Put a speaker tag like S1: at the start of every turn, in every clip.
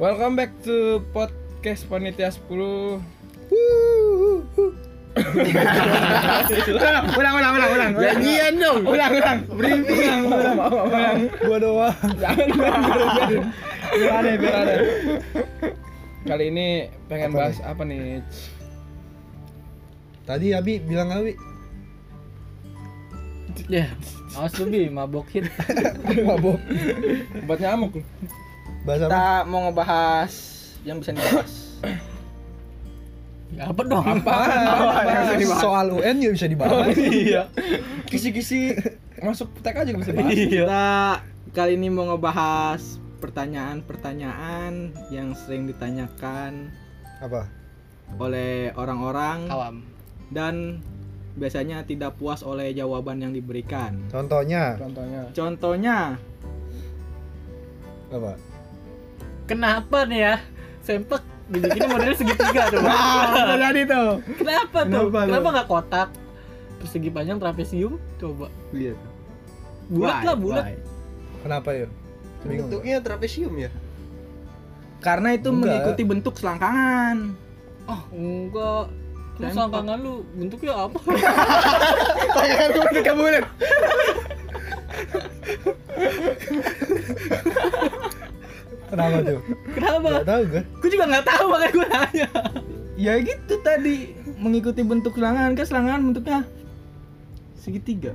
S1: Welcome back to podcast Panitia 10
S2: ulang, ulang, ulang, ulang, ulang.
S3: Ya, iya,
S4: Janjian dong.
S2: Ulang, ulang.
S1: Briefing
S2: Gua doang.
S1: Biar ada, biar ada. Kali ini pengen bahas apa nih?
S2: Tadi Abi bilang Abi
S4: Ya, awas lu Bi, mabokin.
S2: mabok.
S1: Obat nyamuk lu.
S2: Bahasa apa?
S3: kita mau ngebahas yang bisa dibahas
S4: Apa dong? Apa?
S1: Apaan? Apaan?
S2: Bahasa- Soal UN juga bisa
S1: Oh,
S2: dibahas.
S1: iya. Kisi-kisi masuk tek aja bisa bahas.
S3: kita kali ini mau ngebahas pertanyaan-pertanyaan yang sering ditanyakan
S2: Apa?
S3: oleh orang-orang
S4: Awam.
S3: dan biasanya tidak puas oleh jawaban yang diberikan
S2: Contohnya
S1: Contohnya.
S3: contohnya
S2: apa?
S4: Kenapa nih ya? Sempak dibikinnya modelnya segitiga tuh.
S3: ah tadi tuh
S4: Kenapa tuh?
S3: Kenapa lu?
S4: Kenapa nggak kotak? Persegi panjang trapesium coba.
S3: lihat
S4: Bulat lah, bulat.
S2: Kenapa ya? Bingung.
S5: Bentuknya trapesium ya?
S3: karena itu
S2: Enggak.
S3: mengikuti bentuk selangkangan
S4: Oh, enggak. Lu
S3: Sempak.
S4: selangkangan lu bentuknya apa?
S2: Kenapa tuh?
S4: Kenapa?
S3: Iya.
S2: Gak tahu gue.
S4: Gue juga nggak tahu makanya gue nanya.
S3: ya gitu tadi mengikuti bentuk selangkangan kan selangkangan bentuknya segitiga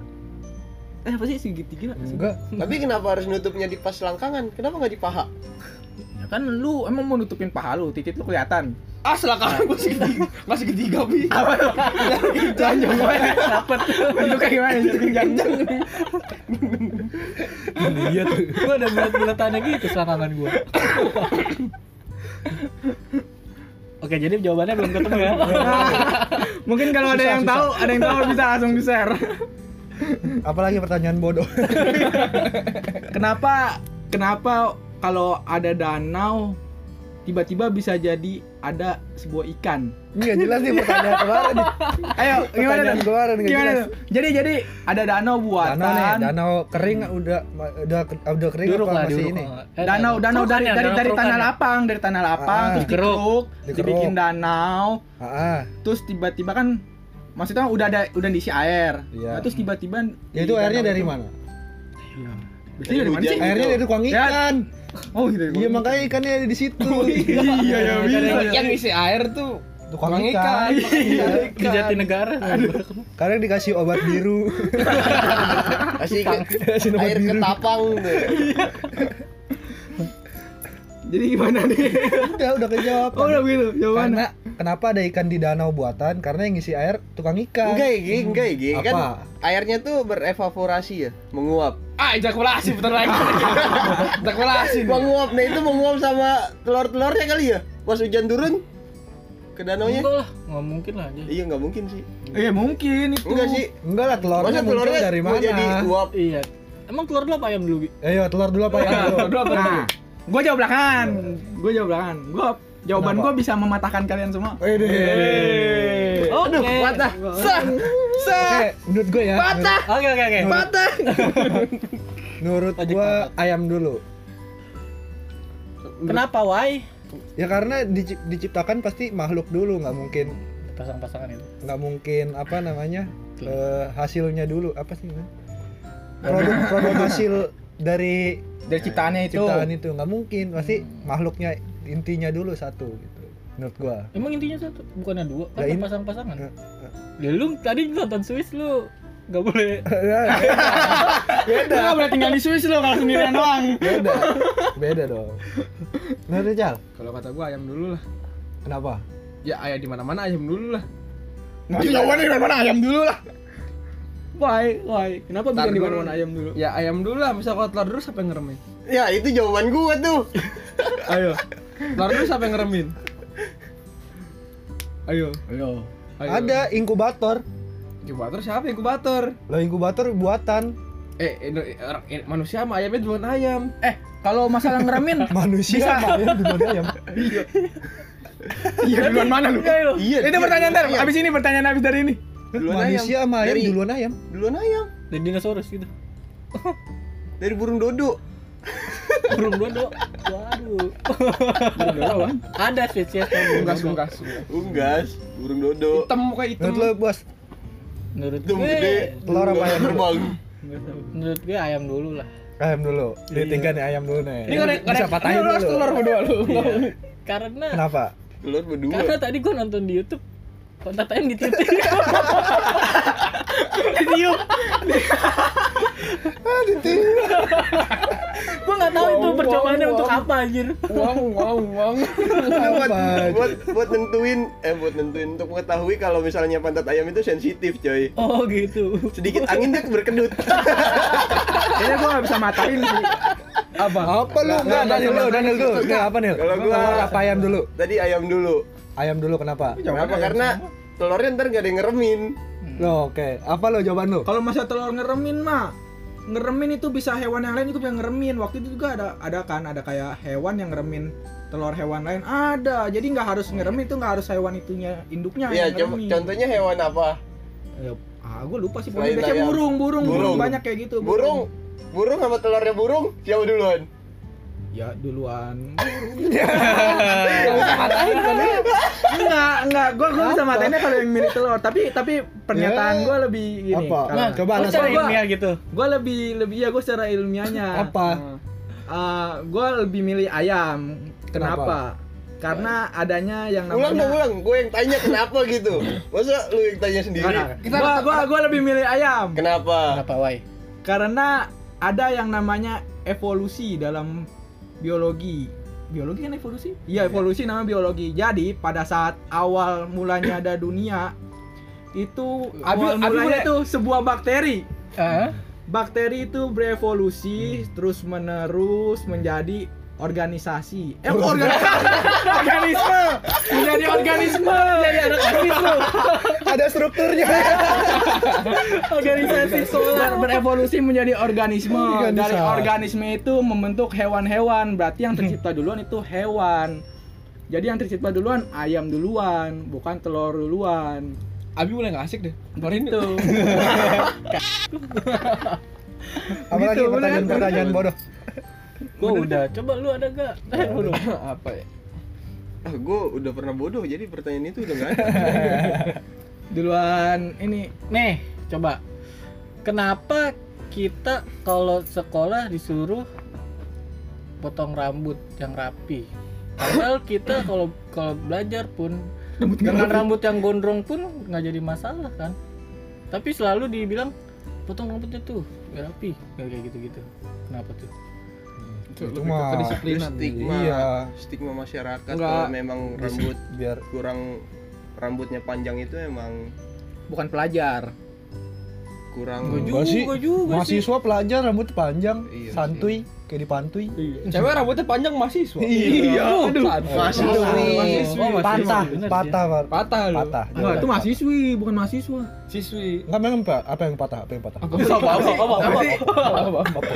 S3: eh apa sih segitiga
S2: Enggak.
S5: Tapi kenapa harus nutupnya di pas langkangan? Kenapa nggak di paha?
S3: Ya kan lu emang mau nutupin paha lu, titik lu kelihatan.
S1: Ah,
S3: Nah.
S1: silakan gua segitiga. Enggak segitiga, Bi.
S3: Jangan gimana? Dapet. Bentuknya gimana? Jangan.
S2: Iya tuh.
S4: Gue ada bulat-bulatannya gitu selangkangan gue. Oke, jadi jawabannya belum ketemu ya.
S3: Mungkin kalau ada yang tahu, ada yang tahu bisa langsung di-share.
S2: Apalagi pertanyaan bodoh.
S3: Kenapa kenapa kalau ada danau tiba-tiba bisa jadi ada sebuah ikan?
S2: Ini gak jelas nih pertanyaan kemarin. nih.
S3: Ayo, gimana
S2: Pertanyaan
S3: tuh?
S2: kemarin gak
S3: Gimana
S2: jelas.
S3: tuh? Jadi jadi ada danau buatan.
S2: Danau nih, danau kering udah udah udah kering
S4: Duruk
S2: apa
S4: lah,
S2: masih
S4: duruk.
S2: ini?
S3: Oh.
S4: Eh,
S3: danau danau dari
S4: kerukan ya,
S3: dari dari
S4: kerukan
S3: tanah
S4: ya.
S3: lapang dari tanah lapang
S2: Ah,
S3: terus
S4: dikeruk.
S3: dikeruk,
S2: Dikeruk.
S3: dibikin danau
S2: Ah, ah.
S3: terus tiba-tiba kan maksudnya udah ada udah diisi air
S2: Iya.
S3: Nah, terus tiba-tiba
S2: Ya
S3: di
S2: itu airnya
S3: danau
S2: dari
S3: itu-
S2: mana?
S3: biasanya dari mana sih
S5: Hujan.
S2: Airnya dari tukang
S3: Ya.
S2: ikan.
S3: oh gitu
S2: Iya makanya ikannya ada di situ.
S3: iya ya bisa
S1: Yang isi air tuh
S2: Tukang ikan.
S1: Iya.
S4: di Jatinegara
S2: Kadang dikasih obat biru.
S5: Kasih ke-
S2: Dikasih obat
S5: air
S2: biru.
S5: ketapang tuh.
S3: jadi gimana nih
S2: Udah udah kejawab.
S3: oh udah gitu jawaban
S2: Karena kenapa ada ikan di danau buatan? Karena yang ngisi air tukang ikan.
S5: Enggak ya, Gi, enggak ya, Gi.
S2: Apa?
S5: Kan airnya tuh berevaporasi ya, menguap.
S1: Ah, ejakulasi bentar lagi. Ejakulasi. nih.
S5: Menguap. Nah, itu menguap sama telur-telurnya kali ya. Pas hujan turun ke danau nya.
S4: enggak lah nggak mungkin lah aja
S5: Iya, nggak mungkin sih.
S3: iya mungkin itu
S5: Enggak sih.
S2: Enggak lah Uh, telurnya
S5: Masa
S2: muncul
S5: telurnya
S2: dari
S5: mau
S2: mana?
S5: jadi uap?
S4: iya emang keluar dulu apa ayam dulu Bi?
S2: Ayo telur dulu apa ya?
S1: Dua apa dulu?
S3: nah gue jawab belakangan gue jawab belakangan gue jawaban
S2: Kenapa?
S3: gue bisa mematahkan kalian semua
S5: Eh,
S2: Oke,
S4: oke patah
S2: menurut gue ya. Patah.
S4: oke oke oke
S2: Patah. Menurut
S4: Pajak
S2: gue
S4: patah.
S2: ayam dulu.
S4: kenapa why
S2: Ya karena dici- diciptakan pasti makhluk dulu, nggak mungkin
S4: pasang-pasangan itu
S2: nggak mungkin apa namanya eh, hasilnya dulu apa sih namanya? produk produk hasil dari
S3: dari ciptaannya itu
S2: ciptaan itu nggak mungkin pasti
S5: Hmm.
S2: makhluknya intinya dulu satu gitu menurut gua
S4: emang intinya satu bukannya dua kan
S2: Ya, ini-
S4: pasang-pasangan
S2: Eh,
S4: ya lu tadi nonton Swiss lu nggak boleh
S3: Lu nggak boleh tinggal di Swiss lo kalau sendirian doang
S2: beda beda dong menurut lu, Cal
S1: Kalau kata gua ayam dulu lah.
S2: kenapa
S1: Ya ayam di mana-mana ayam dulu lah.
S3: Nanti jawabannya di mana ayam dulu lah Why? Why? Kenapa
S1: Ntar
S3: bukan di
S1: dulu.
S3: mana-mana ayam dulu?
S1: Ya ayam dulu lah, misal kalau telur dulu siapa yang ngeremin?
S5: Ya, itu jawaban gua tuh.
S1: Ayo. Telur dulu siapa yang ngeremin? Ayo.
S3: Ayo.
S1: Ayo.
S2: ada inkubator
S1: Inkubator siapa inkubator?
S2: lo inkubator buatan
S1: Eh, Indo- orang- eh, manusia sama ayamnya duluan ayam.
S3: Eh, kalau masalah ngeremin,
S2: manusia
S3: Bisa.
S2: sama ayam duluan ayam
S3: iya duluan mana lu?
S4: Iya, lu.
S5: Iya.
S3: Itu
S5: dia
S3: pertanyaan ntar,
S5: duluan ayam.
S3: abis ini pertanyaan abis dari ini
S5: Duluan
S2: manusia sama ayam
S5: Dari-
S2: duluan ayam
S5: Duluan ayam.
S4: dari dinosaurus gitu
S5: Dari burung dodo.
S4: burung dodo waduh
S1: Burung dodo apaan?
S4: ada spesies burung
S1: Unggas,
S4: dodo
S1: unggas, unggas.
S5: Unggas, Uh, burung dodo.
S1: Hitam muka hitam.
S2: Menurut lo bos,
S4: menurut
S5: Hitam
S4: gue
S5: gede.
S2: Eh, telur apa ya?
S5: Terbang.
S4: menurut gue ayam dulu lah
S2: ayam dulu. Dia tinggal nih ayam dulu nih.
S1: Iya. Ini korek, korek.
S2: Bisa patahin
S1: Lu harus telur
S2: dulu.
S1: berdua lu.
S4: Iya. karena
S2: Kenapa?
S5: Telur berdua.
S4: karena tadi gue nonton di YouTube kontak ayam ditiupin ditiup gue nggak tahu itu
S1: Wow,
S4: percobaannya
S1: wow,
S4: untuk
S1: wow.
S4: apa anjir
S1: Wong, wong, wong.
S5: Nah, buat,
S2: Kenapa?
S5: buat buat nentuin eh buat nentuin untuk mengetahui kalau misalnya pantat ayam itu sensitif coy
S4: oh gitu
S5: sedikit angin dia berkedut
S1: Kayaknya gua nggak bisa matain sih. Apa?
S2: Apa lu? Enggak, Daniel dulu, Daniel dulu. Nil, apa Nil?
S5: Kalau gua-
S2: Telur apa ayam dulu?
S5: tadi ayam dulu
S2: Ayam dulu kenapa?
S5: kenapa karena telurnya ntar gak ada yang ngeremin
S1: Hmm.
S2: Lo oke. Apa lo jawaban lo?
S3: Kalau masa telur ngeremin mah ngeremin itu bisa hewan yang lain juga yang ngeremin. Waktu itu juga ada ada kan ada kayak hewan yang ngeremin telur hewan lain ada. Jadi nggak harus ngeremin itu nggak harus hewan itunya induknya
S5: ya
S3: yang
S5: coba
S3: ngeremin.
S5: Iya. contohnya hewan apa
S3: Ya, ah gue lupa sih
S5: Selain
S3: biasanya
S5: ayam.
S3: burung, burung, burung,
S5: Burung.
S3: banyak kayak gitu.
S5: burung burung sama telurnya burung siapa duluan
S3: Ya duluan.
S5: kan ya?
S3: enggak, enggak. Gue gue bisa matainnya kalau yang milik telur. Tapi tapi
S5: Eh,
S3: pernyataan
S2: Ya.
S3: gue lebih gini.
S2: Apa?
S5: Nah,
S3: Kalau-
S2: Coba
S4: Lu
S2: alasan.
S4: cari
S3: gua-
S4: ilmiah gitu
S3: Gue lebih lebih ya gue secara ilmiahnya.
S2: Apa?
S1: Ah.
S3: gue Eh, lebih milih ayam. Kenapa? Karena adanya yang namanya.
S5: ulang dong ulang gue yang tanya kenapa gitu masa lu yang tanya sendiri
S3: Gua, gua, gua lebih milih ayam.
S5: kenapa
S4: kenapa why
S3: Karena ada yang namanya evolusi dalam biologi. Biologi kan evolusi? Iya, evolusi namanya biologi. Jadi, pada saat awal mulanya ada dunia itu
S1: Abi-
S3: awal
S1: Abi
S3: mulanya
S1: boleh-
S3: itu sebuah bakteri. Eh?
S4: Hah?
S3: Bakteri itu berevolusi terus menerus menjadi organisasi. Eh, organisasi. organisme. Menjadi organisme.
S4: jadi anak artis lu
S2: Ada strukturnya.
S3: organisasi solar berevolusi menjadi organisme
S1: Iya,
S2: Organisasi.
S3: dari organisme itu membentuk hewan-hewan berarti yang tercipta duluan itu hewan jadi yang tercipta duluan ayam duluan bukan telur duluan Gitu.
S1: Abi mulai nggak asik deh. Kemarin
S3: itu
S2: Apalagi
S3: Gitu,
S2: pertanyaan-pertanyaan bodoh.
S4: gua udah coba lu ada gak eh lu
S1: apa ya?
S5: ah gue udah pernah bodoh jadi pertanyaan itu udah gak ada
S4: Iya.
S3: duluan ini
S4: nih coba kenapa kita kalau sekolah disuruh potong rambut yang rapi padahal kita kalau kalau belajar pun dengan rambut yang gondrong pun nggak jadi masalah kan tapi selalu dibilang potong rambutnya tuh nggak rapi nggak kayak gitu gitu kenapa tuh
S2: Itu mah
S1: kedisiplinan.
S5: stigma
S2: Iya.
S5: stigma masyarakat
S3: Enggak.
S5: kalau memang rambut
S2: biar
S5: kurang rambutnya panjang itu emang
S3: bukan pelajar
S5: kurang
S4: gue juga
S2: Enggak sih.
S4: gua juga sih
S2: mahasiswa pelajar rambut panjang,
S5: Iya sih.
S2: santuy kayak di pantuy.
S1: Cewek rambutnya panjang mahasiswa.
S2: Iya.
S1: Aduh,
S5: Mahasiswa.
S1: Salah.
S4: Mahasiswi.
S1: Oh, mahasiswa.
S2: Patah,
S4: bener sih.
S2: patah, Pak.
S1: Patah lu. Ah,
S2: patah.
S3: Enggak, itu mahasiswi bukan mahasiswa
S1: Siswi.
S2: Enggak memang Pak, apa yang patah? Apa yang patah?
S1: Apa
S4: Apa, apa, apa, apa, apa?
S1: apa apa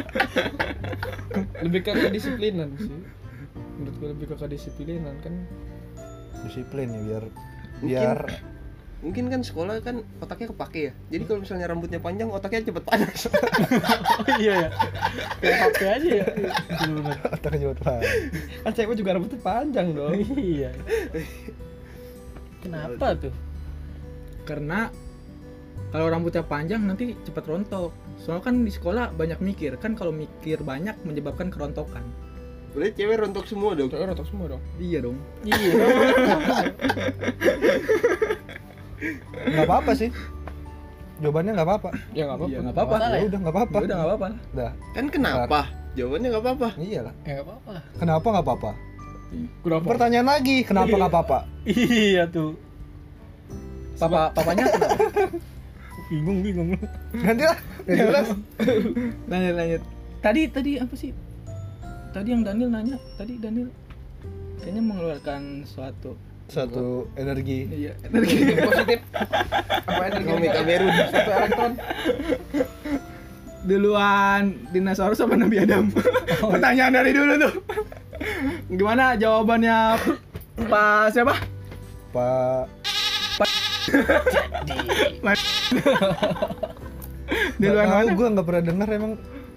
S1: lebih ke kedisiplinan sih menurut gue lebih ke kedisiplinan kan
S2: Disiplin ya biar biar
S5: mungkin kan sekolah kan otaknya kepake ya jadi kalau misalnya rambutnya panjang otaknya cepet panas
S4: iya ya kayak HP aja ya Bener-bener.
S2: otak jawab Pak.
S1: kan cewek juga rambutnya panjang dong
S4: iya kenapa tuh
S3: karena kalau rambutnya panjang nanti cepat rontok soalnya kan di sekolah banyak mikir kan kalau mikir banyak menyebabkan kerontokan
S5: berarti cewek rontok semua dong
S1: cewek rotok semua dong
S3: iya dong
S4: iya
S2: Enggak apa-apa sih. Jawabannya enggak apa-apa.
S1: ya nggak apa-apa
S3: Iya, nggak apa-apa.
S4: Salah
S2: Ya
S4: ya?
S2: udah enggak apa-apa.
S3: Ya udah nggak apa-apa lah.
S2: Udah.
S5: kan kenapa jawabannya nggak apa-apa
S2: Iyalah.
S4: ya nggak apa-apa
S2: Kenapa enggak apa-apa?
S1: kenapa
S2: Pertanyaan lagi, kenapa enggak apa-apa?
S4: iya tuh
S3: Papa, papanya kenapa?
S4: bingung bingung
S2: Gantilah. Ya jelas.
S3: lanjut lanjut. Tadi tadi apa sih? Tadi yang Daniel nanya, tadi Daniel kayaknya mengeluarkan suatu
S2: Satu energi.
S3: iya energi
S1: positif apa energi
S5: Komik Kamerun
S1: satu elektron
S3: duluan dinosaurus apa Nabi Adam? Pertanyaan dari dulu tuh. Gimana jawabannya Pak siapa?
S2: Pak
S3: Duluan
S2: Nggak tahu,
S3: mana?
S2: Gua enggak pernah dengar emang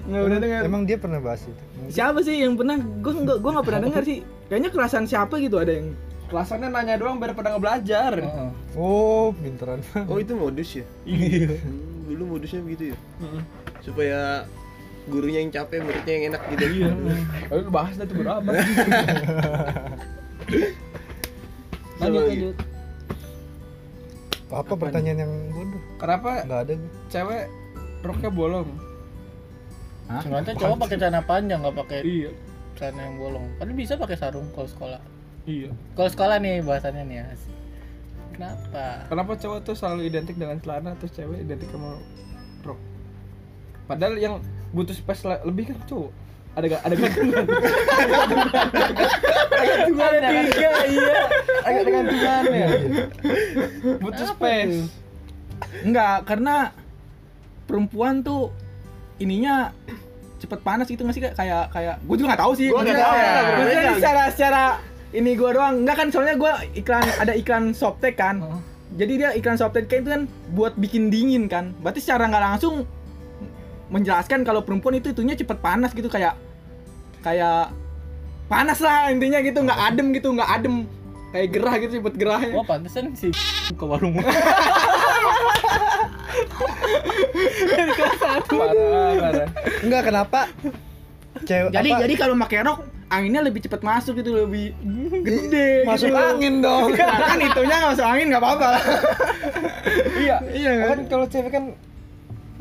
S3: nggak pernah dengar
S2: Emang dia pernah bahas itu?
S3: siapa sih yang pernah gue nggak gue nggak pernah dengar sih kayaknya kerasan siapa gitu ada yang kelasannya nanya doang biar pada nggak belajar
S2: Oh, pinteran banget.
S5: Oh itu modus ya? Hmm, Dulu modusnya begitu ya? Supaya gurunya yang capek, muridnya yang enak gitu Iya
S1: Ayo lu bahas dah tuh berapa?
S5: gitu.
S4: lanjut lanjut
S2: Apa pertanyaan yang bodoh?
S1: Kenapa
S2: Enggak ada gue.
S1: cewek roknya bolong?
S4: sebenarnya cowok pakai celana panjang nggak pakai
S1: Iya,
S4: celana yang bolong padahal bisa pakai sarung kalau sekolah
S1: iya.
S4: kalau sekolah nih bahasannya nih asik. kenapa
S1: Kenapa cowok tuh selalu identik dengan celana terus cewek identik sama rok? Padahal yang butuh space la- lebih kan cowok. Ada ga, ada gantungan. ada gantungan. Ada tiga, iya. Ada gantungan ya. Butuh
S4: Apa
S1: space.
S4: tuh?
S3: nggak karena perempuan tuh ininya cepet panas gitu nggak sih Kak? kayak kayak gue juga nggak tahu sih
S5: Gua nggak
S3: maksudnya-
S5: tahu ya,
S3: maksudnya
S5: berbeda.
S3: ini secara secara ini gue doang nggak kan soalnya gue iklan ada iklan softtek kan jadi dia iklan softtek kayak itu kan buat bikin dingin kan berarti secara nggak langsung menjelaskan kalau perempuan itu itunya cepet panas gitu kayak kayak panas lah intinya gitu nggak adem gitu nggak adem kayak gerah gitu cepet gerahnya
S4: Wah pantesan sih ke warung
S1: Parah, parah.
S2: Enggak kenapa? Cewek
S3: jadi
S2: apa?
S3: jadi kalau pakai rok anginnya lebih cepet masuk gitu lebih gede
S2: masuk
S3: gitu.
S2: angin dong.
S3: Nah, kan itunya nggak masuk angin nggak apa-apa
S1: Iya.
S3: iya
S1: kan kalau cewek kan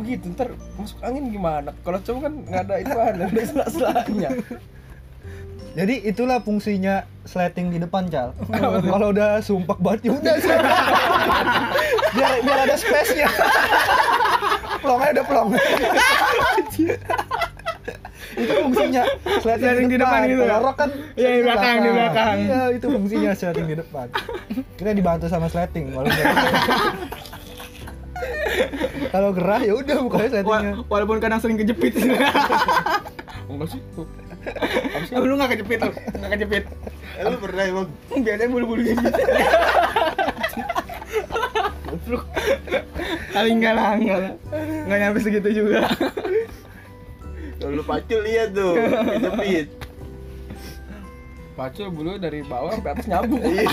S1: begitu ntar masuk angin gimana kalau cowok kan nggak ada itu ada ada sela-selanya
S2: Jadi itulah fungsinya slating di depan, Cal. Kalau udah sumpak banget ya udah. Cal. biar biar ada space-nya. Pelongnya udah pelong. itu fungsinya slating,
S3: Slating
S2: di depan,
S3: gitu ya?
S2: Kalau rock kan
S3: Iya, di
S2: di
S3: belakang, di belakang.
S2: Iya, itu fungsinya slating di depan. Kita dibantu sama slating walaupun Kalau gerah ya udah bukannya slatingnya.
S1: Iya.
S3: Wa- walaupun kadang sering kejepit
S1: enggak sih
S3: Oh, lu nggak kejepit lu nggak kejepit
S5: Eh, Lu pernah emang?
S3: biasanya bulu-bulu gitu kali enggak lah enggak lah nggak nyampe segitu juga
S5: Kalau lu pacul lihat tuh, kejepit
S1: pacu bulu dari bawah sampai atas nyambung
S3: Iya.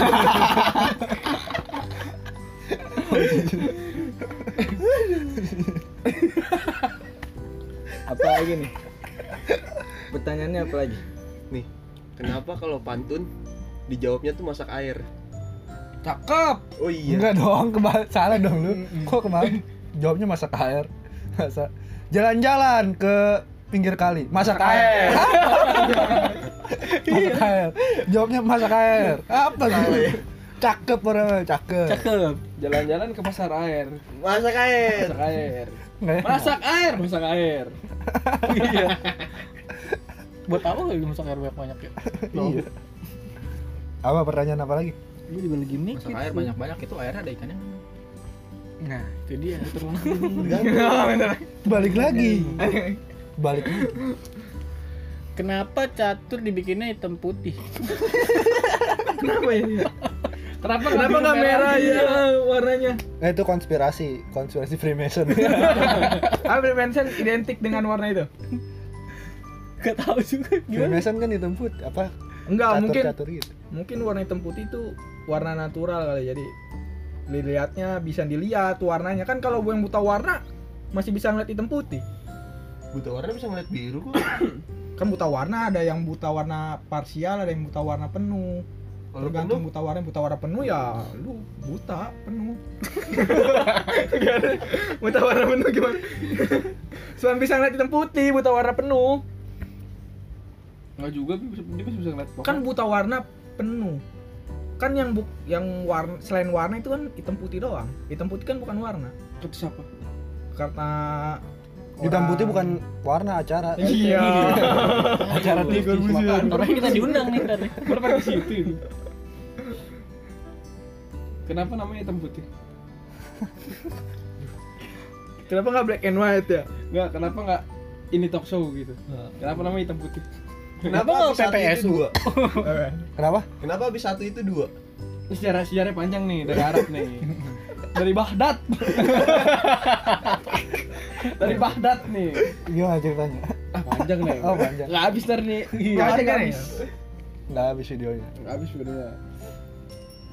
S3: apa lagi nih pertanyaannya apa lagi
S5: Nih, kenapa kalau pantun dijawabnya tuh masak air?
S1: cakep
S5: Oh iya
S2: Enggak dong, kebal salah dong lu. Kok kemarin jawabnya masak air? Masa jalan-jalan ke pinggir kali, masak air. masak air. Jawabnya masak air. Apa gitu?
S5: Salah ya.
S2: Cakep orang, cakep.
S4: cakep
S1: jalan-jalan ke pasar air
S5: Masak air
S1: masak air
S2: Nggak enak.
S1: masak air masak air
S4: buat apa lagi masak air banyak banyak ya
S2: Iya. Apa pertanyaan apa lagi?
S4: gue juga lagi mikir
S3: air banyak-banyak itu airnya ada ikannya
S4: nah itu dia
S2: Balik lagi. Balik lagi.
S4: kenapa catur dibikinnya hitam putih
S3: kenapa ya
S1: kenapa
S3: kenapa nggak merah ya warnanya
S2: Nah, itu konspirasi, konspirasi Freemason.
S3: Apa Benson identik dengan warna itu?
S4: gak tahu juga gimana
S2: Freemason kan hitam putih, apa?
S3: Enggak, mungkin
S2: Catur-catur gitu.
S3: mungkin warna hitam putih itu warna natural kali. Jadi dilihatnya bisa dilihat warnanya kan kalau gue yang buta warna masih bisa ngeliat hitam putih.
S5: Buta warna bisa ngeliat biru kok
S3: Kan buta warna ada yang buta warna parsial, ada yang buta warna penuh.
S5: Kalau
S3: Tergantung buta warna, buta warna penuh ya lu buta penuh. buta warna penuh gimana? Cuma bisa ngeliat hitam putih, buta warna penuh.
S1: nggak juga Bi. Bisa- dia masih bisa ngeliat pohon.
S3: kan buta warna penuh kan yang buk yang warna selain warna itu kan hitam putih doang hitam putih kan bukan warna
S1: kata siapa
S3: karena
S2: Hitam
S3: orang-
S2: putih bukan warna acara.
S3: iya
S2: Acara TV
S1: ya.
S2: makan.
S4: Makanya kita diundang nih ntar nih.
S1: kenapa ke situ ini? kenapa namanya hitam putih
S3: kenapa nggak black and white ya
S1: nggak kenapa nggak ini talk show gitu kenapa namanya hitam putih
S5: Kenapa
S4: Kenapa
S5: abis satu
S4: PPS?
S5: itu dua?
S2: Kenapa?
S5: Kenapa abis satu itu dua?
S1: Ini sejarah sejarah panjang nih dari Arab nih dari Baghdad dari Baghdad nih
S2: Gimana ceritanya?
S4: panjang nih.
S2: Oh
S3: Kan?
S2: panjang.
S1: Nggak habis ntar nih.
S4: Iya.
S1: Nggak ada, nggak
S3: Panjang
S1: habis.
S2: Nggak habis videonya.
S1: Nggak habis videonya.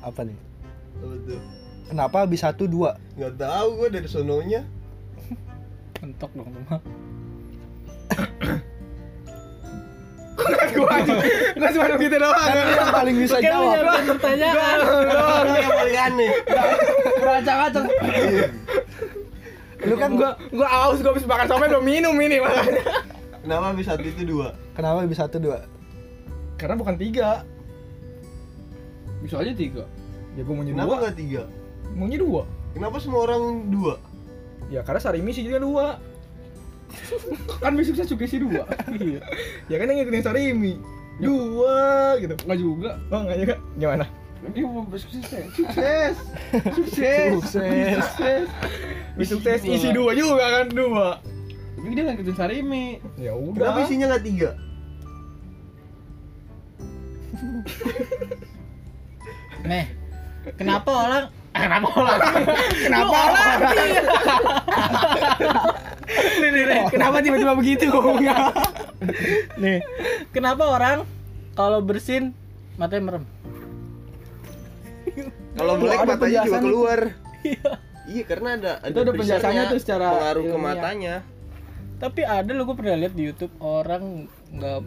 S2: Apa nih?
S5: Apa tuh?
S2: Kenapa habis satu dua?
S5: Nggak tahu gua dari sononya.
S4: Mentok dong cuma.
S3: Gua aja. Gua cuma gitu doang.
S2: Kan dia yang paling bisa jawab.
S4: pertanyaan.
S5: Lu yang paling aneh.
S1: Beracak-acak.
S2: Lu kan
S3: Gua gua aus gua habis makan somai belum minum ini makanya.
S5: Kenapa habis satu itu dua?
S2: kenapa habis satu dua?
S3: Karena bukan tiga.
S1: Bisa aja tiga.
S3: Ya gua maunya
S5: Kenapa
S3: dua.
S5: nggak tiga?
S3: Maunya dua.
S5: Kenapa semua orang dua?
S3: Ya karena sehari misi juga dua.
S1: Kan bisa bisa sugesti dua.
S4: Iya.
S3: Ya kan yang ngikutin sehari misi. Dua gitu.
S1: Nggak juga.
S3: Oh enggak juga. Gimana?
S1: Ini mau sukses ya.
S3: Sukses. Sukses.
S2: Sukses.
S3: Sukses. Wih, sukses
S1: Isi dua.
S3: isi dua juga kan dua.
S1: Tapi dia nggak ngikutin Sarimi.
S3: Ya
S5: Kenapa
S3: udah.
S5: isinya nggak tiga?
S4: Nih. Kenapa orang Ah, Kenapa orang?
S3: Kenapa orang? Nih, nih, nih. Kenapa tiba-tiba begitu ngomongnya?
S4: Oh. Nih. Kenapa orang kalau bersin matanya merem?
S5: Kalau melek
S1: Iya, ada
S5: matanya juga
S1: penjelasan itu.
S5: keluar. Iya karena ada
S1: Itu ada penjelasannya
S5: triggernya,
S1: tuh secara
S5: pengaruh ke
S1: ilmiah.
S5: matanya.
S4: Tapi ada lo gue pernah lihat di YouTube orang nggak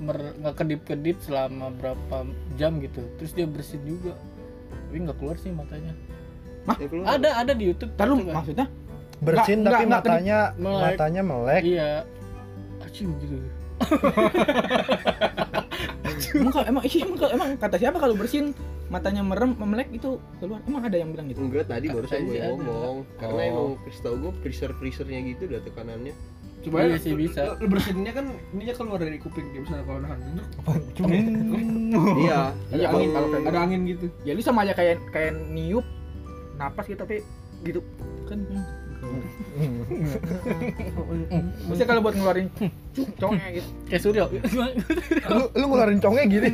S4: mer- nggak kedip-kedip selama berapa jam gitu. Terus dia bersin juga. Tapi nggak keluar sih matanya.
S5: Ya, keluar.
S4: Ada ada di YouTube. gitu kan.
S3: Ntar lu
S4: Coba.
S3: maksudnya?
S2: Bersin
S3: Nggak,
S2: tapi
S3: nggak, nggak,
S2: matanya
S4: melek.
S2: matanya melek.
S4: Iya. Aciu gitu.
S3: Emang kalau- emang ih, emang, kalau- emang kata siapa kalau bersin matanya merem memelek itu keluar emang ada yang bilang gitu.
S5: Enggak tadi barusan
S4: Katanya
S5: gue
S4: sih ada.
S5: ngomong karena
S2: Oh.
S5: emang setahu gue freezer freezernya gitu ada tekanannya.
S1: Coba
S4: Iya sih, bisa.
S1: Lu bersihinnya kan ininya keluar dari kuping dia misalnya kalau nahan.
S2: Cuma
S5: iya.
S1: Ada angin kalau kayak- ada angin gitu.
S3: Ya lu sama aja kayak kayak niup napas gitu tapi gitu kan.
S2: Hmm.
S3: Bisa kalau buat ngeluarin congnya gitu.
S4: Kayak Suryo.
S2: lu lu ngeluarin conge gini.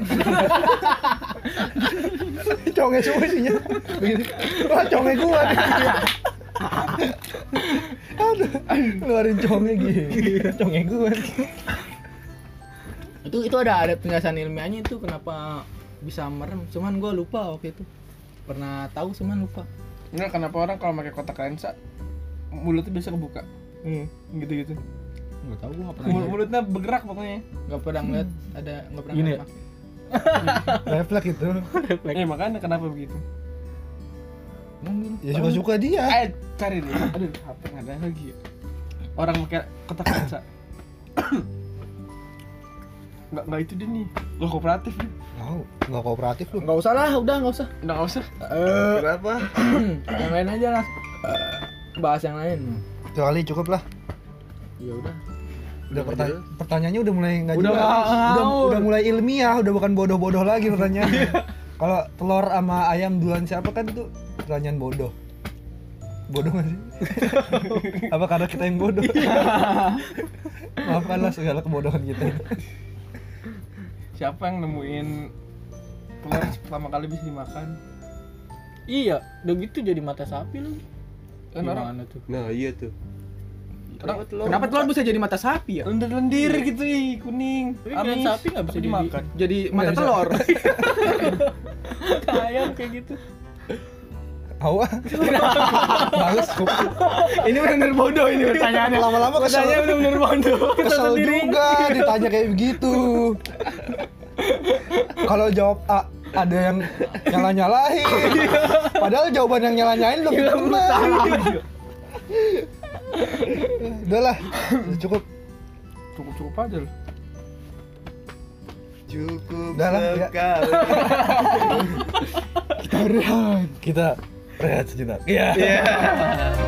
S2: conge semua isinya. Begini. Wah, conge gua. nih. Aduh, ngeluarin conge gini. Conge gua.
S3: Itu itu ada ada penjelasan ilmiahnya itu kenapa bisa merem. Cuman gua lupa waktu itu. Pernah tahu cuman lupa.
S1: Enggak kenapa orang kalau pakai kotak lensa mulutnya biasa kebuka. gitu-gitu.
S3: Enggak tahu gua enggak
S1: Hmm. Mul- mulutnya bergerak pokoknya.
S3: Enggak pernah ngeliat ada enggak pernah
S1: Gini
S3: ngeliat
S1: ya?
S3: mak-
S2: Refleks itu.
S1: Eh makanya kenapa begitu?
S3: Emang gini?
S2: Ya suka-suka dia.
S1: Eh cari deh. Aduh, HP nggak ada lagi. ya. Orang pakai kotak lensa. Enggak enggak itu dia nih. Lo kooperatif nih.
S2: Mau, enggak kooperatif lu.
S3: Enggak usah lah, udah enggak usah.
S1: Enggak nggak usah.
S3: Eh,
S5: Kenapa?
S3: yang lain aja lah. Eh, bahas yang lain.
S2: Sekali cukup lah.
S3: Ya udah.
S2: Udah pertanya- pertanyaannya udah mulai nggak
S1: Udah
S2: jelas.
S1: nggak
S2: udah,
S1: ngaur.
S2: udah mulai ilmiah, udah bukan bodoh-bodoh lagi pertanyaannya. Kalau telur sama ayam duluan siapa kan itu pertanyaan bodoh. Bodoh gak sih? Apa karena kita yang bodoh? Maafkanlah segala kebodohan kita.
S1: Siapa yang nemuin telur pertama kali bisa dimakan?
S4: iya, udah gitu jadi mata sapi lu.
S1: Kan orang
S4: Gimana tuh?
S5: Nah iya tuh.
S1: Kenapa
S5: telur?
S3: Kenapa telur bisa jadi mata sapi ya?
S1: lendir-lendir gitu ih kuning.
S4: Tapi dengan
S1: Amis.
S4: sapi nggak bisa
S1: Tapi
S4: jadi-
S1: dimakan.
S3: Jadi mata
S2: Nggak bisa.
S3: telur.
S4: Kayak kayak gitu.
S2: Awa. Males kok.
S3: ini benar-benar bodoh ini pertanyaannya.
S2: Lama-lama kesel,
S3: Pertanyaannya benar-benar bodoh.
S2: kesel juga ditanya kayak begitu. Kalau jawab A ada yang nyala-nyalain. Padahal jawaban yang nyala-nyalain lebih benar. Udah lah, udah cukup.
S1: Cukup-cukup aja loh.
S5: Cukup
S2: Udah lah, ya.
S5: sekali.
S2: Kita rehat. Kita rehat sejenak. Iya.
S5: Iya.